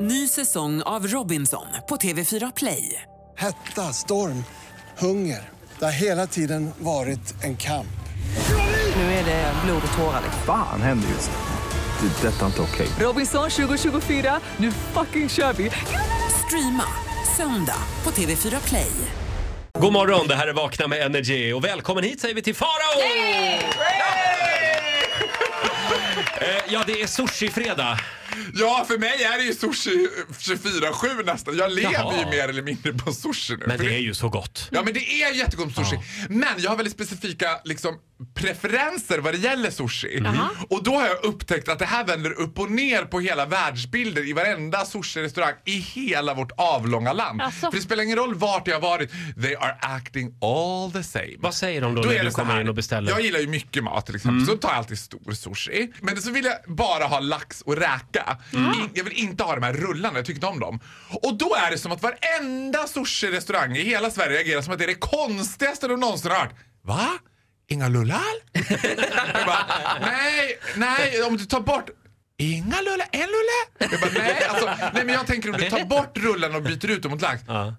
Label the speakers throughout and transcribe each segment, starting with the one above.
Speaker 1: Ny säsong av Robinson på TV4 Play.
Speaker 2: Hetta, storm, hunger. Det har hela tiden varit en kamp.
Speaker 1: Nu är det blod och tårar.
Speaker 3: Fan händer just nu. Det. är Detta är inte okej.
Speaker 1: Robinson 2024, nu fucking kör vi! Streama söndag på TV4 Play.
Speaker 4: God morgon, det här är Vakna med Energy och välkommen hit säger vi till Farao! Eh, Ja, det är sushi-fredag.
Speaker 5: Ja, för mig är det ju sushi 24-7 nästan. Jag lever
Speaker 4: Jaha.
Speaker 5: ju mer eller mindre på sushi nu.
Speaker 4: Men
Speaker 5: För
Speaker 4: det är ju så gott.
Speaker 5: Ja, men det är jättegott sushi. Men jag har väldigt specifika liksom, preferenser vad det gäller sushi.
Speaker 4: Mm.
Speaker 5: Och då har jag upptäckt att det här vänder upp och ner på hela världsbilden i varenda sushi-restaurang i hela vårt avlånga land.
Speaker 6: Alltså.
Speaker 5: För det spelar ingen roll vart jag har varit, they are acting all the same.
Speaker 4: Vad säger de då,
Speaker 5: är
Speaker 4: när du
Speaker 5: det så
Speaker 4: kommer
Speaker 5: här.
Speaker 4: in och beställer?
Speaker 5: Jag gillar ju mycket mat till exempel, så tar jag alltid stor sushi. Men så vill jag bara ha lax och räka. In, jag vill inte ha de här rullarna, jag tycker inte om dem. Och då är det som att varenda sushi-restaurang i hela Sverige reagerar som att det är det konstigaste de någonsin har hört. Va? Inga lullar? jag bara, nej, nej, om du tar bort Inga lullar, en lulle? Jag bara, nej, alltså, nej, men jag tänker om du tar bort rullarna och byter ut dem mot lax. Åh,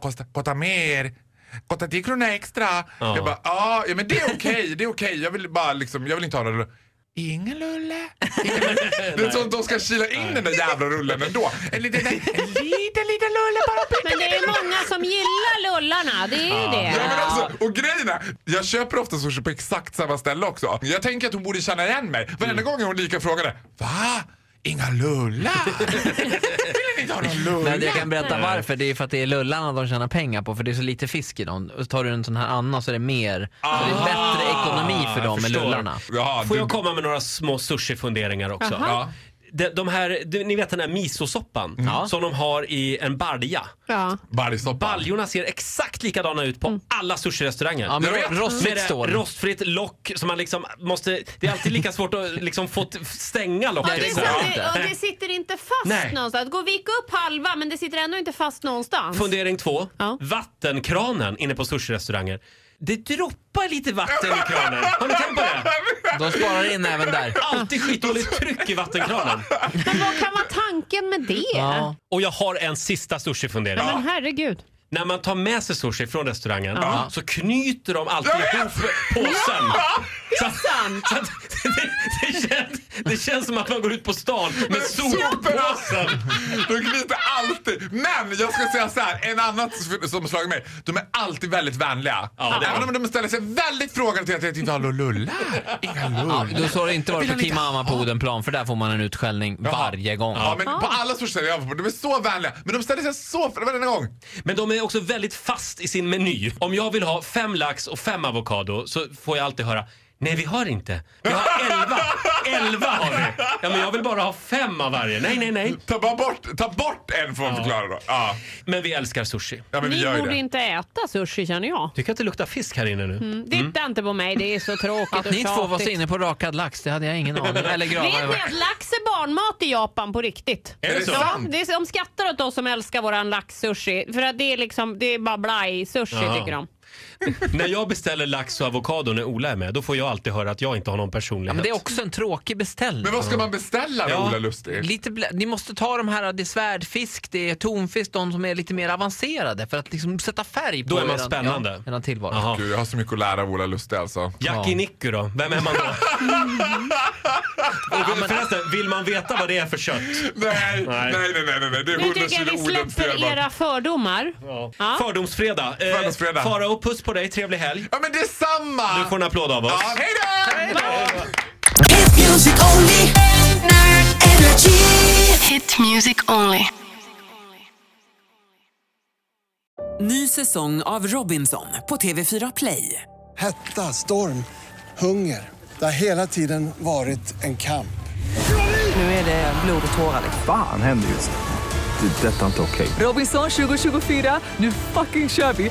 Speaker 5: kosta, kosta mer. Kosta 10 kronor extra. Jag bara, ja, ja, men det är okej, det är okej. Jag vill bara liksom, jag vill inte ha några rullar. Ingen lulle. Ingen lulle. Det är som att de ska kila in den där jävla rullen ändå. En liten, en liten, liten lulle bara.
Speaker 6: Men det är många som gillar lullarna, det är ju det.
Speaker 5: Ja, men alltså, och grejen är, jag köper ofta sushi på exakt samma ställe också. Jag tänker att hon borde känna igen mig. Varenda gång är hon lika frågande. Va? Inga lullar? Vill ni inte ha någon lulla?
Speaker 7: Nej, jag kan berätta varför. Det är för att det är lullarna de tjänar pengar på, för det är så lite fisk i dem. Och så tar du en sån här annan så är det mer. Så det är bättre ekonomi för
Speaker 4: jag
Speaker 7: dem med
Speaker 4: förstår.
Speaker 7: lullarna.
Speaker 5: Ja,
Speaker 4: Får
Speaker 5: du-
Speaker 4: jag komma med några små sushi-funderingar också?
Speaker 6: Jaha.
Speaker 5: Ja.
Speaker 4: De, de här, du- ni vet den här misosoppan som de har i en balja.
Speaker 6: Ja.
Speaker 5: Baljsoppa.
Speaker 4: Baljorna ser exakt likadana ut på alla sushi-restauranger.
Speaker 7: Ja, men
Speaker 5: Jag vet.
Speaker 7: rostfritt står
Speaker 4: Med det
Speaker 7: det.
Speaker 4: rostfritt lock som man liksom måste... Det är alltid lika svårt att liksom få t- stänga
Speaker 6: Ja,
Speaker 4: locket.
Speaker 6: det,
Speaker 4: liksom.
Speaker 6: sitter, och det sitter inte fast
Speaker 4: Nej.
Speaker 6: någonstans. Det går att vika upp halva men det sitter ändå inte fast någonstans.
Speaker 4: Fundering två.
Speaker 6: Ja.
Speaker 4: Vattenkranen inne på sushi-restauranger. Det droppar lite vatten i kranen. Har ni tänkt på det?
Speaker 7: De sparar in även där.
Speaker 4: Alltid skitdåligt tryck i vattenkranen.
Speaker 6: Men vad kan vara tanken med det?
Speaker 7: Ja.
Speaker 4: Och jag har en sista sushi-fundering.
Speaker 6: Men herregud.
Speaker 4: När man tar med sig sushi från restaurangen
Speaker 6: Ja.
Speaker 4: så knyter de alltid
Speaker 5: Jag vet!
Speaker 4: ihop påsen. Så att-
Speaker 6: sant.
Speaker 4: så att det, det, känns, det känns som att man går ut på stan med soppåsen.
Speaker 5: De knyter alltid. Men jag ska säga så här, en annan som slagit mig. De är alltid väldigt vänliga.
Speaker 4: Ja, det är
Speaker 5: Även om de ställer sig väldigt frågande till att jag inte har några lullar. Inga lullar.
Speaker 7: Då så har det inte varit på Kim Amma på Odenplan, för där får man en utskällning varje gång.
Speaker 5: Ja, men på alla sushi-ställen jag har varit på, de är så vänliga. Men de ställer sig så för varenda gång.
Speaker 4: Men de är också väldigt fast i sin meny. Om jag vill ha fem lax och fem avokado så får jag alltid höra Nej vi har inte. Vi har elva. Elva har vi. Ja, men jag vill bara ha fem av varje. Nej, nej, nej.
Speaker 5: Ta, bara bort, ta bort en får man förklara då. Ja.
Speaker 4: Men vi älskar sushi.
Speaker 5: Ja, men vi
Speaker 6: Ni
Speaker 5: gör ju
Speaker 6: borde
Speaker 5: det.
Speaker 6: inte äta sushi känner jag.
Speaker 4: Tycker att det luktar fisk här inne nu.
Speaker 6: Titta inte på mig, det är så tråkigt
Speaker 7: Att
Speaker 6: och
Speaker 7: ni två var så
Speaker 6: tjatigt.
Speaker 7: inne på rakad lax, det hade jag ingen aning Eller
Speaker 6: Vet ni
Speaker 7: gravad.
Speaker 6: att lax är barnmat i Japan på riktigt?
Speaker 4: Är det så?
Speaker 6: Ja, det är, de skrattar åt oss som älskar våran laxsushi. För att det är liksom, det är bara blaj-sushi
Speaker 4: Ja.
Speaker 6: tycker de.
Speaker 4: När jag beställer lax och avokado när Ola är med, då får jag alltid höra att jag inte har någon personlighet.
Speaker 7: Ja, men det är också en tråkig beställning.
Speaker 5: Men vad ska man beställa
Speaker 4: Ja.
Speaker 5: då, Ola Lustig?
Speaker 7: Lite blä- ni måste ta de här, det är svärdfisk, det är tonfisk, de som är lite mer avancerade för att liksom sätta färg på
Speaker 4: Då är man
Speaker 7: eran-
Speaker 4: spännande.
Speaker 7: Ja, eran tillvaro.
Speaker 4: Jaha.
Speaker 5: Gud, jag har så mycket att lära av Ola Lustig alltså.
Speaker 4: Jackie Nicku då? Vem är man då? Och Förresten, vill man veta vad det är för kött?
Speaker 5: Nej,
Speaker 4: Nej.
Speaker 5: nej, nej, nej, nej, nej. det är
Speaker 6: Nu
Speaker 5: 100
Speaker 6: tycker jag
Speaker 5: kilo
Speaker 6: vi
Speaker 5: Ola
Speaker 6: släpper era fördomar. Ja.
Speaker 4: Fördomsfredag. Eh,
Speaker 5: Fördomsfredag.
Speaker 4: Farao, puss på dig. Trevlig helg.
Speaker 5: Ja men det är samma!
Speaker 4: Du får en applåd av oss.
Speaker 5: Ja, hej då!
Speaker 8: Hit music only. Energy. Hit music only.
Speaker 1: Ny säsong av Robinson på TV4 Play.
Speaker 2: Hetta, storm, hunger. Det har hela tiden varit en kamp.
Speaker 9: Nu är det blod och tårar.
Speaker 3: Fan händer just nu. Det. är Detta är inte okej.
Speaker 9: Robinson 2024, nu fucking kör vi!